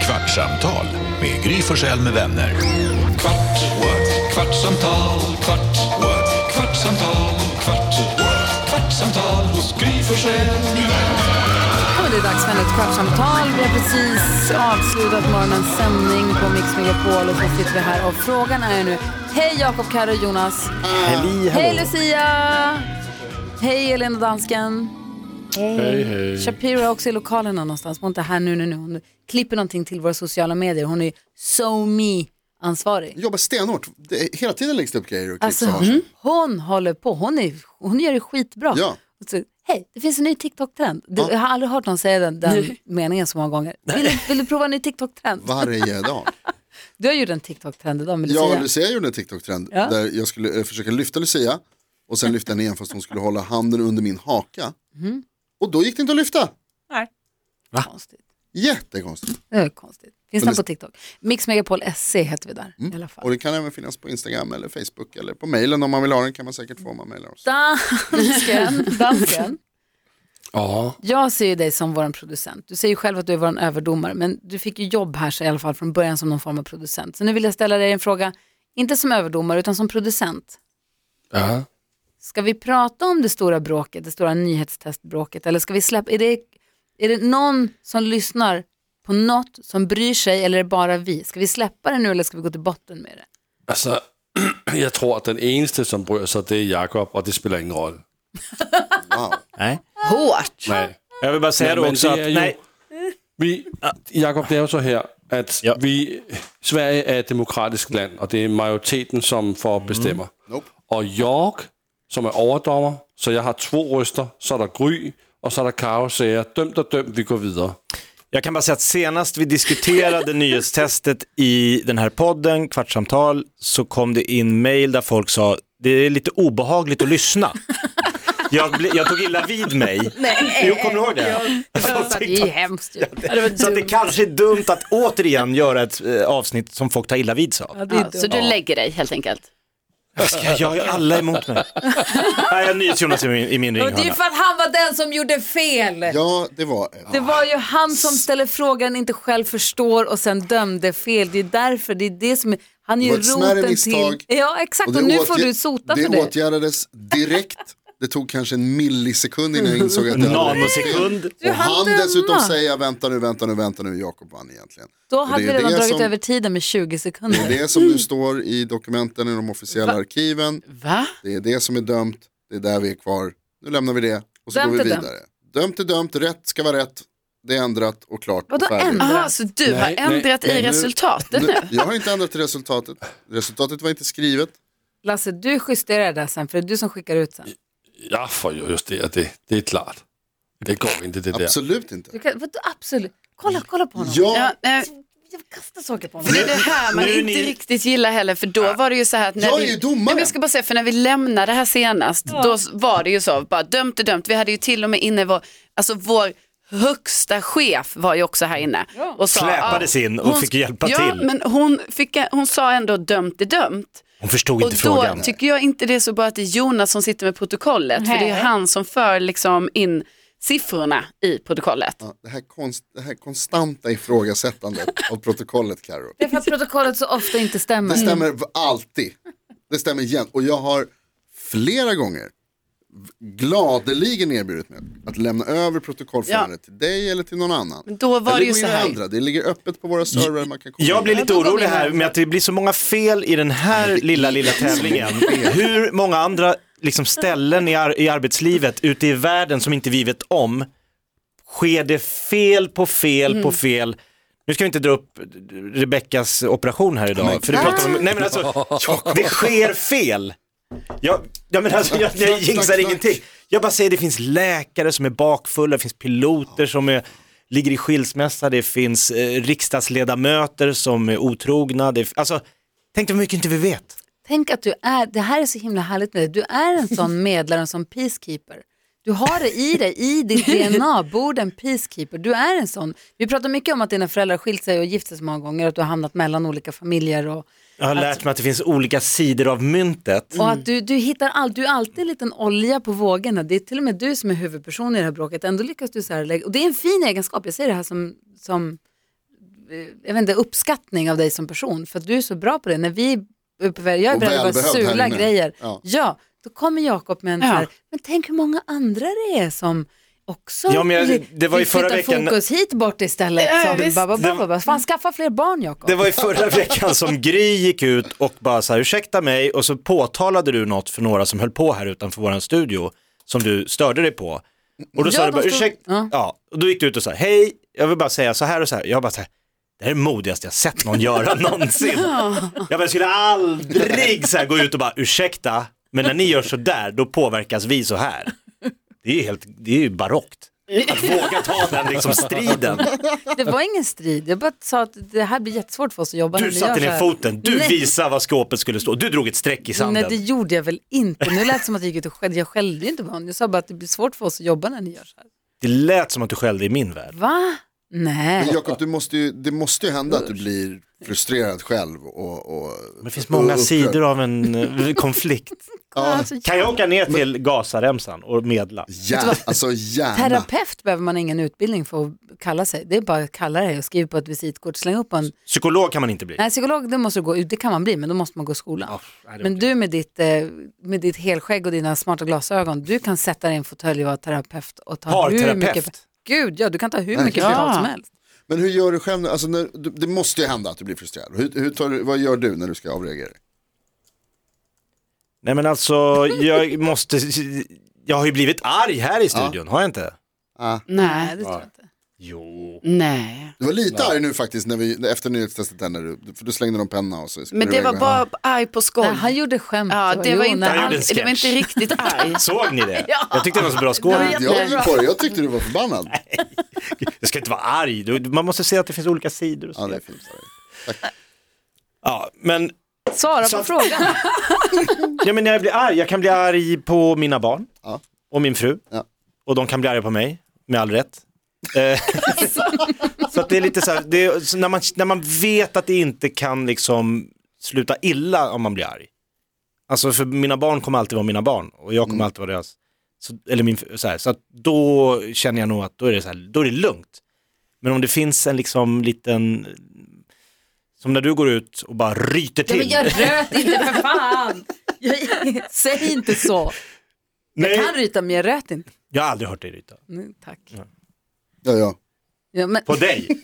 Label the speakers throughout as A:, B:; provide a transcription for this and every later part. A: Kvartsamtal med Gry Forssell med vänner. Kvart, what? kvartsamtal, kvart, what? kvartsamtal, kvart, what? kvartsamtal hos Gry Forssell med vänner.
B: Ja, men det är dags för ett kvartsamtal. Vi har precis avslutat morgonens sändning på Mix Megapol och så sitter vi här och frågan är nu, hej Jakob, Karo och Jonas.
C: Hej,
B: Hej Lucia! Hej Elin och dansken.
C: Hej, hej.
B: Shapiro är också i lokalen någonstans. Hon är inte här nu, nu, nu. Hon klipper någonting till våra sociala medier. Hon är ju so me ansvarig
D: jobbar stenhårt. Det är- Hela tiden läggs det upp grejer och klipp
B: Alltså
D: som har sig.
B: hon, hon håller på, hon, är, hon gör det skitbra.
D: mm. Ja.
B: Och så, Hej, det finns en ny TikTok-trend. Du, Jag har aldrig hört någon säga den, den meningen så många gånger. Vill du, vill du prova en ny TikTok-trend?
D: varje dag.
B: Du har gjort en TikTok-trend idag med
D: Jag och
B: Lucia.
D: Lucia gjorde en TikTok-trend
B: Ja.
D: där jag skulle eh, försöka lyfta Lucia och sen lyfta henne igen fast hon skulle hålla handen under min haka.
B: Mm.
D: Och då gick det inte att lyfta.
B: Konstigt.
D: Jättekonstigt.
B: Det är konstigt. Finns den
D: det- Mm.
B: på TikTok? Mix Megapol SC heter vi där i alla fall.
D: Och det kan även finnas på Instagram eller Facebook eller på mejlen om man vill ha den kan man säkert få om man mejlar oss.
B: Dansken, dansken.
C: Ja,
B: Jag ser ju dig som vår producent. Du säger ju själv att du är vår överdomare, men du fick ju jobb här så i alla fall från början som någon form av producent. Så nu vill jag ställa dig en fråga, inte som överdomare utan som producent.
C: ja.
B: Ska vi prata om det stora bråket, det stora nyhetstestbråket, eller ska vi släppa, är det, är det någon som lyssnar på något som bryr sig eller är det bara vi? Ska vi släppa det nu eller ska vi gå till botten med det?
C: Alltså, jag tror att den eneste som bryr sig det är Jakob och det spelar ingen roll.
D: Wow.
E: Nej.
F: Hårt.
C: Nej.
E: Jag vill bara säga
C: Nej,
E: då
C: men
E: också
C: det
E: att,
C: är ju-
E: nej,
C: Vi, Jakob, det är ju så här att
E: Ja.
C: vi, Sverige är ett demokratiskt land och det är majoriteten som får bestämma.
D: Nope.
C: Och jag som är överdomare, så jag har två röster, så är det Gry och så är det Karo säger dömt och dömt, vi går vidare.
E: jag kan bara säga att senast vi diskuterade nyhetstestet i den här podden, Kvartsamtal, så kom det in mail där folk sa, det är lite obehagligt att lyssna. Jag, ble, jag tog illa vid mig.
F: Nej.
E: Jo, kommer du ihåg det?
B: Det är ju hemskt ju.
E: Så att det kanske är dumt att återigen göra ett eh, avsnitt som folk tar illa vid sig av.
B: Ja, det är
F: Ja,
B: dumt.
F: så du lägger dig helt enkelt?
E: Jag jag har ju alla emot mig. Nej, jag NyhetsJonas i min, i
B: Men
E: min
B: det är ju
E: ringhörna.
B: för att han var den som gjorde fel.
D: Ja, det var
B: Det var ju han som ställer frågan, inte själv förstår och sen dömde fel. Det är därför, det är det som är, han är
D: Det
B: ju
D: var ett smärre
B: roten
D: misstag.
B: till. Ja exakt, och,
D: det
B: nu
D: åtgär-
B: får du sota
D: det
B: för det.
D: åtgärdades direkt. Det tog kanske en millisekund innan jag insåg att det
E: Nanosekund.
B: Du
D: Och
B: hann
D: han
B: döma.
D: dessutom säga vänta nu, vänta nu, vänta nu, Jakob vann egentligen.
B: Då
D: Och
B: hade
D: är
B: vi
D: det
B: redan dragit
D: som,
B: över tiden med 20 sekunder.
D: Det är det som nu står i dokumenten i de officiella arkiven.
F: Va?
D: Det är det som är dömt, det är där vi är kvar. Nu lämnar vi det och så
B: Dömt
D: går vi
B: är dömt.
D: vidare. Dömt är dömt, rätt ska vara rätt. Det är ändrat och klart
B: Vadå
D: och färdigt.
B: ändrat?
F: Aha, Ah, så du har
C: Nej, nej,
F: ändrat
C: nej,
F: i
C: nu-
F: resultatet nu?
D: Nu, jag har inte ändrat resultatet. Resultatet var inte skrivet.
B: Lasse, du justerar det där sen, för det är du som skickar ut sen.
C: Jag får ju justera det, det är klart. Det går inte det där.
D: Absolut
B: Du
D: inte.
B: kan, vadå, absolut. Kolla, kolla på honom.
D: Ja,
F: Ja, nej,
B: Jag kastar saker på
F: det
B: honom.
F: är det här man
E: Nu är
F: inte
E: ni-
F: riktigt gillar heller, för då var det ju så här att när
D: Jag
F: vi...
D: är ju
F: Nej, men
D: domare.
F: jag ska bara säga, för när vi lämnade det här senast, då s- var det ju så, bara dömt är dömt. Vi hade ju till och med inne vår, alltså vår högsta chef var ju också här inne. Och sa,
E: Släpades
F: ja,
E: in och fick hjälpa
F: ja,
E: till.
F: men hon, fick, hon sa ändå dömt är dömt.
E: Hon förstod
F: Och
E: inte
F: då
E: frågan.
F: tycker jag inte det är så bra att det är Jonas som sitter med protokollet, för det är ju han som för liksom in siffrorna i protokollet.
D: Ja, det, här konst, det här konstanta ifrågasättandet av protokollet, Carro.
B: Det är för att protokollet så ofta inte stämmer.
D: Det
F: Mm.
D: stämmer v- alltid. Det stämmer igen. Och jag har flera gånger v- gladeligen erbjudit mig att lämna över protokollförandet till dig eller till någon annan.
F: Men då var
D: eller
F: det ju
D: gå in
F: så
D: och
F: här.
D: ändra. Det ligger öppet på våra servrar. Man kan komma
E: Jag
D: in.
E: blir lite
B: Ja, då kom
E: orolig
B: in
E: här
B: här.
E: med att det blir så många fel i den här lilla, lilla tävlingen. Hur många andra liksom, ställen i, ar- i arbetslivet ute i världen som inte vi vet om sker det fel på fel på fel. Nu ska vi inte dra upp Rebeckas operation här idag, för du pratar om, nej men alltså, det sker fel. Jag, ja, men alltså, jag, jag
D: Tack, tack,
E: jinxar
D: tack.
E: ingenting. Jag bara säger det finns läkare som är bakfulla, det finns piloter som är, ligger i skilsmässa, det finns eh, riksdagsledamöter som är otrogna. Det, alltså, tänk dig hur mycket inte vi vet.
B: Tänk att du är, det här är så himla härligt med dig, du är en sån medlare, en sån peacekeeper. Du har det i dig, i ditt DNA bor det en peacekeeper. Du är en sån. Vi pratar mycket om att dina föräldrar har skilt sig och gift sig så många gånger, att du har hamnat mellan olika familjer och,
E: Jag har lärt mig att det finns olika sidor av myntet.
B: och att du, du hittar allt, du är alltid en liten olja på vågorna. Det är till och med du som är huvudperson i det här bråket, ändå lyckas du så här lägga, och det är en fin egenskap, jag säger det här som, som jag vet inte, uppskattning av dig som person för att du är så bra på det. När vi är uppe, jag är beredd att
D: Och
B: bara
D: välbehövd här
B: sula
D: inne.
B: grejer.
D: Ja.
B: Ja. då kommer Jakob med en
F: Ja.
B: så här, men tänk hur många andra det är som också
E: Ja, men jag-
B: vill-
E: det var ju
B: vill
E: förra
B: flytta
E: veckan-
B: fokus hit bort istället.
F: Ja,
B: sa du.
F: visst.
B: Ba, ba, ba,
E: Det-
B: ba, ba. Fan, skaffa fler barn Jakob.
E: Det var ju förra veckan som Gry gick ut och bara så här, ursäkta mig, och så påtalade du något för några som höll på här utanför våran studio, som du störde dig på. Och
B: Ja,
E: då sa du
B: de
E: bara,
B: stod-
E: ursäkta,
B: ja.
E: ja, och då gick du ut och sa, hej, jag vill bara säga så här och så här, jag bara så här, det här är det modigaste jag sett någon göra någonsin. Jag bara, skulle aldrig så här gå ut och bara, ursäkta, men när ni gör så där, då påverkas vi så här. Det är ju helt, det är ju barockt. Att våga ta den liksom striden.
B: Det var ingen strid, jag bara sa att det här blir jättesvårt för oss att jobba när
E: Du
B: vi gör
E: satte
B: så
E: ner
B: här.
E: foten, du
B: Nej.
E: visade vad skåpet skulle stå, du drog ett streck i sanden.
B: Nej det gjorde jag väl inte. Nu lät det som att jag gick ut och skällde. Jag skällde ju inte på honom. Jag sa bara att det blir svårt för oss att jobba när ni gör så här.
E: Det lät som att du skällde i min värld.
B: Va? Nej.
D: Men Jakob, du måste ju, det måste ju hända att du blir frustrerad själv och, och
E: Det finns många
D: och upprörd.
E: sidor av en eh, konflikt.
B: Alltså,
E: Kan jag åka ner till Gazaremsan och medla?
D: Ja, alltså gärna.
B: Terapeut behöver man ingen utbildning för att kalla sig. Det är bara att kalla dig och skriva på ett visitkort. Släng upp en...
E: Psykolog kan man inte bli.
B: Nej, psykolog det måste du gå ut. Det kan man bli, men då måste man gå i skolan.
E: nej, det
B: men du med ditt, eh, med ditt helskägg och dina smarta glasögon, du kan sätta dig i en fåtölj och vara terapeut och ta hur
E: Parterapeut.
B: mycket... Gud, ja, du kan ta hur
D: Nej.
B: mycket
F: Ja.
B: betalt som helst.
D: Men hur gör du själv? nu? Alltså, när, du- det måste ju hända att du blir frustrerad. Hur, hur tar, du- vad gör du när du ska avreagera? dig?
E: Nej men alltså, jag måste, jag har ju blivit arg här i studion, har jag inte?
D: Ah.
B: Nej,
F: Nej.
B: det tror jag inte.
E: Jo.
F: Nej.
D: Du var lite arg nu faktiskt när vi, efter nyhetstestet där, när du, för du slängde någon penna och så. skulle
F: Men
D: du
F: det
D: iväg
F: var
D: med-
F: bara arg på skoj.
B: Nej, han gjorde skämt.
F: Ja, det
B: Jo,
F: var inte
B: nej.
E: gjorde en
F: alls, det var
E: sketch.
F: inte riktigt arg.
E: Såg ni det? Jag tyckte det var så bra skål.
F: Det var
D: Jag gick på det, jag tyckte du var förbannad.
E: Jag ska inte vara arg, Du- man måste se att det finns olika sidor. Och
D: Ja, det
E: så.
D: är fint. sorry.
E: Ja, men,
B: Svara på
E: Så-
B: frågan.
E: ja, men när jag blir arg, jag kan bli arg på mina barn
D: Ja.
E: och min fru.
D: Ja.
E: Och de kan bli arga på mig, med all rätt. Eh, så att det är lite så här, det är, så när, man, när man vet att det inte kan liksom sluta illa om man blir arg. Alltså för mina barn kommer alltid vara mina barn och jag kommer
D: Mm.
E: alltid vara deras. Så, eller min, fru- så här, så att då känner jag nog att då är det, så här, då är det lugnt. Men om det finns en liksom liten, som när du går ut och bara ryter
B: Ja,
E: till.
B: men jag röt inte för fan. Jag, säg inte så.
E: Nej,
B: Jag kan ryta men jag röt inte.
E: jag har aldrig hört dig ryta.
B: Mm, tack.
D: Ja, ja.
B: Ja, men,
E: På dig.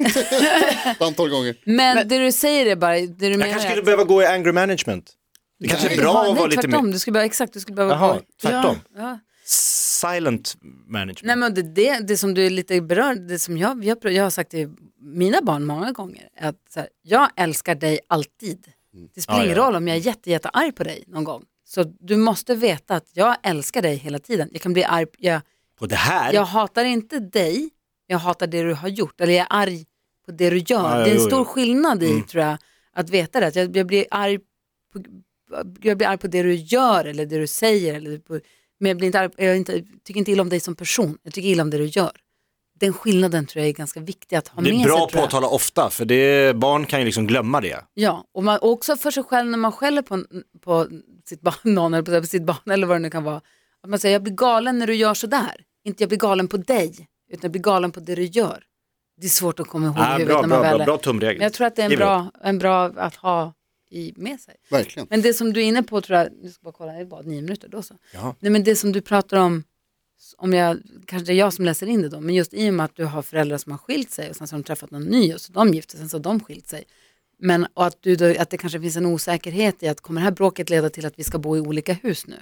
D: Ett antal gånger.
B: men det du säger är bara, det du menar
E: Jag kanske
B: är
E: skulle
B: att-
E: behöva gå i anger management. Det kanske är
B: Ja,
E: bra att vara
B: nej,
E: lite
B: tvärtom.
E: mer...
B: Du skulle behöva, exakt, du skulle behöva
E: Jaha,
B: gå-
E: tvärtom.
B: Ja.
E: Silent management.
B: Nej men det, det, det som du är lite berörd, det som jag, jag, jag har sagt till mina barn många gånger, är att så här, jag älskar dig alltid. Det spelar
E: Mm. Ja,
B: ingen
E: ja. Mm.
B: roll om jag är jätte, jättearg på dig någon gång. Så du måste veta att jag älskar dig hela tiden. Jag kan bli arg, jag,
E: På det här?
B: jag hatar inte dig, jag hatar det du har gjort. Eller jag är arg på det du gör.
E: Ja, ja,
B: det är en
E: jo,
B: stor
E: jo.
B: skillnad i,
E: Mm.
B: tror jag, att veta det. Att jag, jag, blir arg på, jag blir arg på det du gör eller det du säger. Eller på, men jag, blir inte arg, jag är inte, tycker inte illa om dig som person, jag tycker illa om det du gör. Den skillnaden tror jag är ganska viktig att ha
E: det
B: med
E: är bra
B: sig.
E: att
B: tror jag.
E: påtala ofta, för det, barn kan ju liksom glömma det.
B: Ja, och man, och också för sig själv när man skäller på, på sitt barn, någon eller på, på sitt barn eller vad det nu kan vara. Att man säger jag blir galen när du gör sådär. Inte jag blir galen på dig, utan jag blir galen på det du gör. Det är svårt att komma ihåg i
E: Ah,
B: huvudet
E: bra,
B: när man
E: bra,
B: väl
E: bra,
B: är-
E: bra
B: Men
E: tumregel.
B: jag tror att det är en
E: Giv det
B: bra, en bra att ha i, med sig.
D: Verkligen.
B: Men det som du är inne på tror jag, nu ska jag bara kolla, det är bara nio minuter då så.
E: Ja.
B: Nej men det som du pratar om, om jag, kanske det är jag som läser in det då, men just i och med att du har föräldrar som har skilt sig och sen så har de träffat någon ny och så de gifte sig, sen så har de skilt sig. Men och att, du då, att det kanske finns en osäkerhet i att kommer det här bråket leda till att vi ska bo i olika hus nu?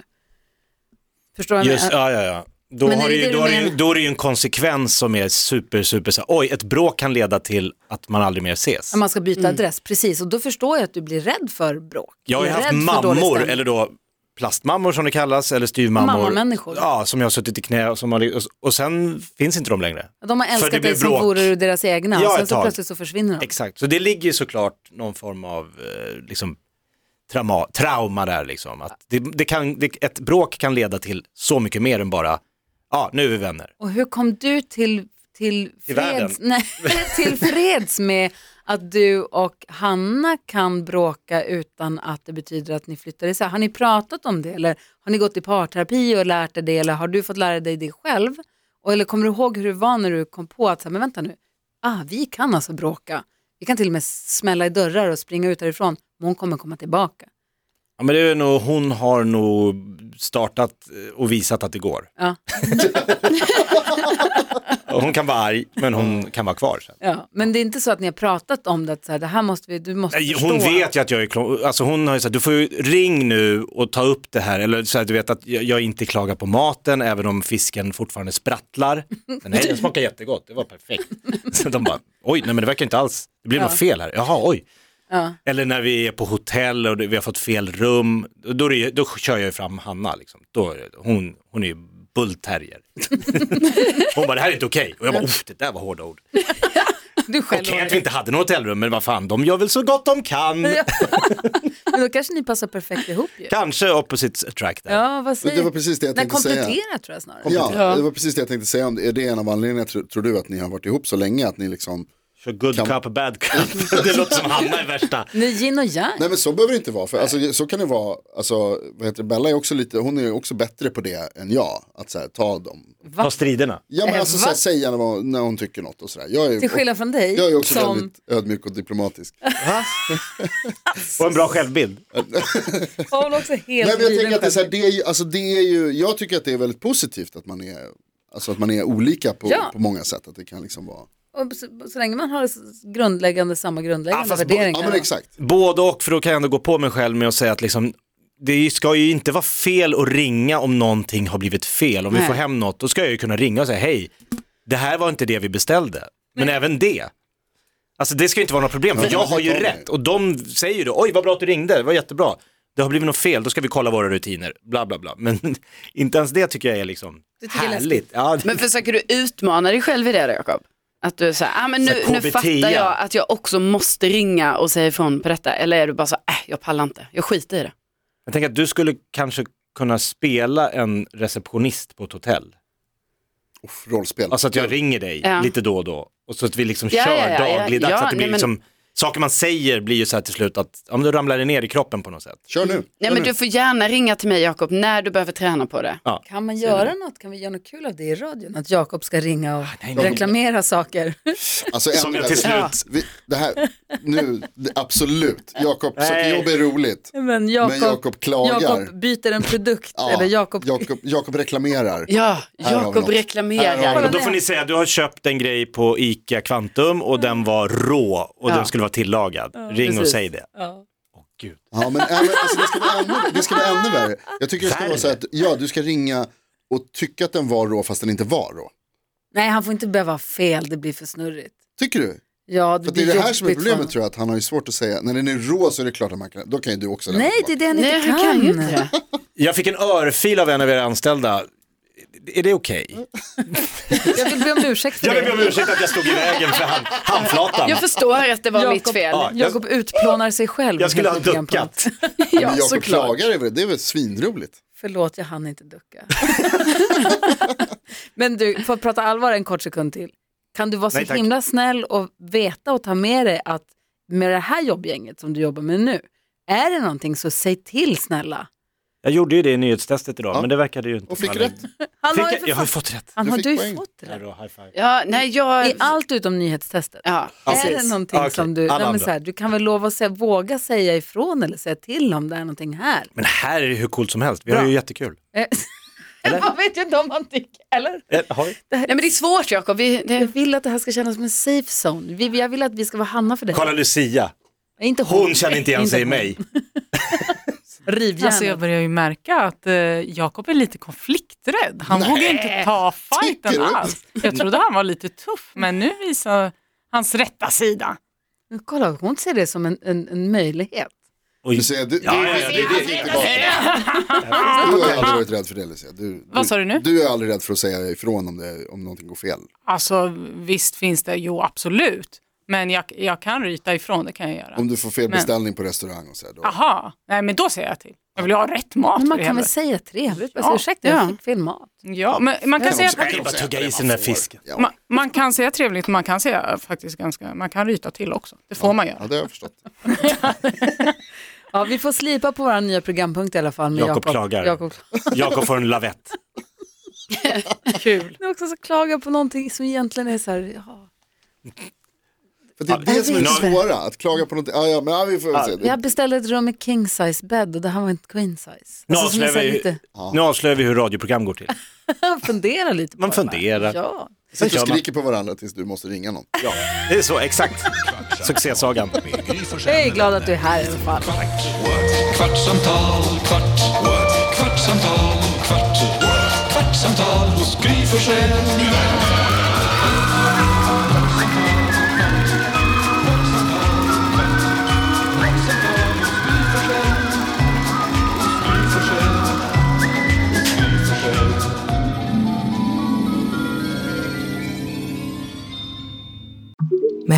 B: Förstår du? vad jag
E: Just,
B: menar?
E: ja, ja, ja. Då,
B: Men är
E: har
B: det
E: det ju,
B: det du
E: då, har det ju,
B: menar?
E: då är det ju en konsekvens som är super, super, så här, oj, ett bråk kan leda till att man aldrig mer ses.
B: Att man ska
E: Mm.
B: byta adress, precis. Och då förstår jag att du blir rädd för bråk.
E: Jag har ju
B: Blir
E: haft
B: rädd för dålig
E: mammor,
B: stämning.
E: eller då plastmammor som det kallas, eller styvmammor.
B: Mammamänniskor.
E: Ja, som jag har suttit i knä och, som har, och, och sen finns inte de längre.
B: De har
E: För det
B: älskat
E: blir
B: dig som
E: bråk.
B: vore du deras egna
E: Ja,
B: och sen
E: ett
B: så
E: tag.
B: plötsligt så försvinner de.
E: Exakt, så det ligger ju såklart någon form av eh, liksom, trauma, trauma där liksom. Att det, det kan, det, ett bråk kan leda till så mycket mer än bara, ja nu är vi vänner.
B: Och hur kom du till, till,
E: Till världen.
B: freds, nej, till freds med att du och Hanna kan bråka utan att det betyder att ni flyttar isär? Har ni pratat om det eller har ni gått i parterapi och lärt er det eller har du fått lära dig det själv? Och, eller kommer du ihåg hur det var när du kom på att, så här, men vänta nu, ah, vi kan alltså bråka, Vi kan till och med smälla i dörrar och springa ut därifrån, men hon kommer komma tillbaka.
E: Ja, men det är nog, hon har nog startat eh, och visat att det går.
B: Ja.
E: Och Hon kan vara arg, men hon kan vara kvar sen.
B: Ja. Men det är inte så att ni har pratat om det, att så här, det här måste vi, du måste
E: Nej,
B: förstå.
E: Hon vet ju att jag är klo- alltså hon har ju sagt, du får ju ring nu och ta upp det här, eller så här, du vet att jag, jag inte klagar på maten, även om fisken fortfarande sprattlar. Men nej, den smakar jättegott, det var perfekt. Så de bara, oj, nej men det verkar inte alls, det blev något fel här, jaha, oj.
B: Ja.
E: Eller när vi är på hotell och det- vi har fått fel rum, då, är det, ju- då kör jag ju fram Hanna, liksom. då, är det- hon, hon är ju bullterrier. hon bara, det här är inte okej, och jag bara, uff, det där var hårda ord.
B: Du själv
E: Okej att vi inte hade något hotellrum, men vad fan, de gör väl så gott de kan.
B: Men då kanske ni passar perfekt ihop ju.
E: Kanske opposites attract där.
B: Ja, vad säger
D: Det var precis det jag
B: Nej,
D: tänkte säga.
B: komplettera tror jag snarare.
D: Ja, det var precis det jag tänkte säga. Om det- Är det en av anledningarna, tror, tror du, att ni har varit ihop så länge? Att ni liksom...
E: Kör good
D: Kan-
E: cup, bad cup. det låter som Hanna är värsta.
B: Ni är yin och yang.
D: Nej men så behöver det inte vara. För, alltså, så kan det vara, alltså, vad heter det? Bella är också lite, hon är ju också bättre på det än jag. Att så här, ta dem.
E: Ta striderna.
D: Ja men
B: Eh,
D: alltså
B: va?
D: så här, säga när hon, när hon tycker något och sådär. Jag är, ju-
B: Till skillnad från dig,
D: jag är ju också
B: som-
D: väldigt ödmjuk och diplomatisk.
E: Och en bra självbild.
B: Och hon är också helt
D: Nej, men jag
B: given
D: tänker att det är så
B: själv.
D: här, det är, ju- alltså, det är ju, jag tycker att det är väldigt positivt att man är, alltså, att man är olika på,
B: Ja.
D: på många sätt. Att det kan liksom vara,
B: Och så, så länge man har s- grundläggande, samma grundläggande
E: Ja, fast bo-
B: värderingar.
D: ja men exakt.
E: Både och, för då kan jag ändå gå på mig själv med att säga att liksom, det ska ju inte vara fel att ringa om någonting har blivit fel. Om vi
F: Nej.
E: får hem något, då ska jag ju kunna ringa och säga hej, det här var inte det vi beställde. Men även det. Alltså det ska ju inte vara något problem, för jag har ju
D: jag tar det.
E: rätt. Och de säger ju då, oj vad bra att du ringde, det var jättebra. Det har blivit något fel, då ska vi kolla våra rutiner, bla bla bla. Men inte ens det tycker jag är liksom
B: Det tycker jag är
E: härligt. Ja, det-
F: Men försöker du utmana dig själv i det då Jakob? Att du är så här, ah, men nu,
E: Så här,
F: nu
E: KBT,
F: fattar
E: ja.
F: jag att jag också måste ringa och säga ifrån på detta. Eller är du bara så, äh, jag pallar inte, jag skiter i det.
E: Jag tänker att du skulle kanske kunna spela en receptionist på ett hotell.
D: Uff, rollspel.
E: Alltså att jag ringer dig
F: Mm. Ja.
E: lite då och då. Och så att vi liksom
F: Ja,
E: kör
F: ja, ja, ja.
E: dagligdags.
F: Ja,
E: att det blir
F: nej, men-
E: liksom, saker man säger blir ju så här till slut att om du ramlar det ner i kroppen på något sätt.
D: Kör nu. Mm.
F: Nej men du får gärna ringa till mig Jakob när du behöver träna på det.
B: Kan man göra något? Kan vi göra något kul av det i radion? Att Jakob ska ringa och
E: nej.
B: reklamera saker.
D: Alltså, ännu
E: Som jag
D: hellre.
E: till slut,
D: Vi, det här, nu, det, absolut. Jakob, sökerjobb är roligt.
B: Men Jakob,
D: Men Jakob klagar.
B: Jakob byter en produkt.
D: Ja,
B: eller Jakob,
D: Jakob, Jakob reklamerar.
F: Ja,
D: Här har vi
F: Jakob
D: något. Här har
F: reklamerar.
D: vi
E: och då får ni säga att du har köpt en grej på ICA Kvantum och den var rå och
F: Mm. Ja.
E: den skulle vara tillagad. Ring och
B: precis.
E: säg det.
B: ja.
E: Gud.
D: Ja, men, äh, men, alltså, det, ska vara ännu, det ska vara ännu värre. Jag tycker det ska
E: Värre?
D: vara så här att ja, du ska ringa och tycka att den var rå fast den inte var rå.
B: Nej, han får inte behöva ha fel. Det blir för snurrigt.
D: Tycker du?
B: Ja, det
D: För det
B: blir
D: är det här som är
B: jobbigt för honom.
D: problemet tror jag, att han har ju svårt att säga, när den är rå så är det klart att man kan, då kan ju du också lämna
B: Nej, det
D: tillbaka.
B: är det han
F: Nej,
B: inte
F: han
B: kan.
F: kan ju inte det.
E: Jag fick en örfil av en av era anställda. Är det okej?
F: Mm.
B: Jag vill be om ursäkt för
E: Jag vill be om
B: det.
E: ursäkt att jag stod i vägen för hand, handflatan.
F: Jag förstår att det var mitt
B: Jakob-
F: fel.
E: Ja. jag-
B: Jakob utplånar sig själv.
E: Jag skulle ha
B: helt enkelt på något
E: duckat.
D: Men
F: Ja,
D: Jakob
F: såklart.
D: klagar över det, det är väl svinroligt.
B: Förlåt, jag hann inte ducka. Men du, får jag prata allvar en kort sekund till. Kan du vara så
E: Nej, tack.
B: himla snäll och veta och ta med dig att med det här jobbgänget som du jobbar med nu, är det någonting så säg till snälla.
E: Jag gjorde ju det i nyhetstestet idag,
D: Ja.
E: men det verkade ju inte.
D: Och fick
E: falla in.
D: rätt.
B: Han
E: Fick
B: har ju
E: jag,
B: för
E: jag
B: fan,
E: har ju fått rätt.
B: han
D: Du
B: har
D: fick
B: du ju
D: poäng.
B: fått
E: Ja,
B: det.
E: då, high five.
F: Ja, nej, jag...
B: I allt utom nyhetstestet.
F: Ja,
B: Är det
F: precis.
B: någonting
E: Okej,
B: som du,
E: alla
B: nej, men
E: andra.
B: så här, du kan väl lova att säga, våga säga ifrån eller säga till om det är någonting här.
E: Men här är det hur coolt som helst, vi har
B: Bra.
E: ju jättekul.
B: Eh, Jag vet ju inte om han tycker, eller?
E: Eh, har-
F: Nej men det är svårt Jakob. Vi, det...
B: Jag vill att det här ska kännas som en safe zone. Vi, jag vill att vi ska vara Hanna för dig.
E: Kolla Lucia,
B: Inte hon.
E: hon känner inte igen sig i
B: hon.
E: mig.
B: Rivjärnet.
G: Alltså jag börjar ju märka att eh, Jakob är lite konflikträdd. Han vågar inte ta
D: Tycker
G: fighten
D: du?
G: alls. Jag trodde han var lite tuff, men nu visar hans rätta sida.
B: Men Kolla, hon ser det som en, en, en möjlighet.
E: Oj.
D: Du säger, du,
E: Ja,
D: du,
E: ja, ja, det- det-
D: du, inte bakom. du har ju aldrig varit rädd för det Lucia. Du, du,
G: Vad sa du nu?
D: Du är aldrig rädd för att säga ifrån om, det, om någonting går fel.
G: Alltså visst finns det, jo absolut. Men jag, jag kan ryta ifrån, det kan jag göra.
D: Om du får fel
G: Men-
D: beställning på restaurang och så här, då.
G: Aha, nej men då säger jag till. Jag vill ju ha rätt mat.
B: Men man
G: för
B: kan väl
G: helvete.
B: säga trevligt. Alltså,
G: Ja.
B: ursäkta, jag fick fel mat.
G: ja, men man kan säga...
E: Jag kan bara tugga i sig den där fisken.
D: Ja,
G: Man, man kan säga trevligt, men man kan säga faktiskt ganska, man kan ryta till också. Det får man göra.
D: ja, det har jag förstått.
B: Ja, vi får slipa på vår nya programpunkt i alla fall. Med
E: Jakob
B: Jakob
E: klagar.
B: Jakob.
E: Jakob får en lavett.
G: Kul.
B: Det är också så klaga på någonting som egentligen är så här, ja.
D: För det är det som är det svåra, att klaga på något. Ja, ja, men ja, vi får väl se.
B: Jag beställde ett rum med king size bädd och det här var en queen size.
E: Nu
B: Alltså, som är
E: avslöjar,
B: så här
E: vi,
B: lite,
E: nu avslöjar vi hur radioprogram går till.
B: fundera lite på
E: Man
B: det bara.
E: funderar.
B: Ja.
D: Sitter och
E: gör man.
D: skriker på varandra tills du måste ringa någon.
E: Ja, det är så, exakt. Succésagan.
A: Gry Forssell
B: Jag är
A: med
B: glad
A: vänner.
B: att du är här i alla fall.
A: Kvart, what? kvartsamtal, kvart, what? kvartsamtal, kvart, what? kvartsamtal hos Gry Forssell med vänner.
H: Med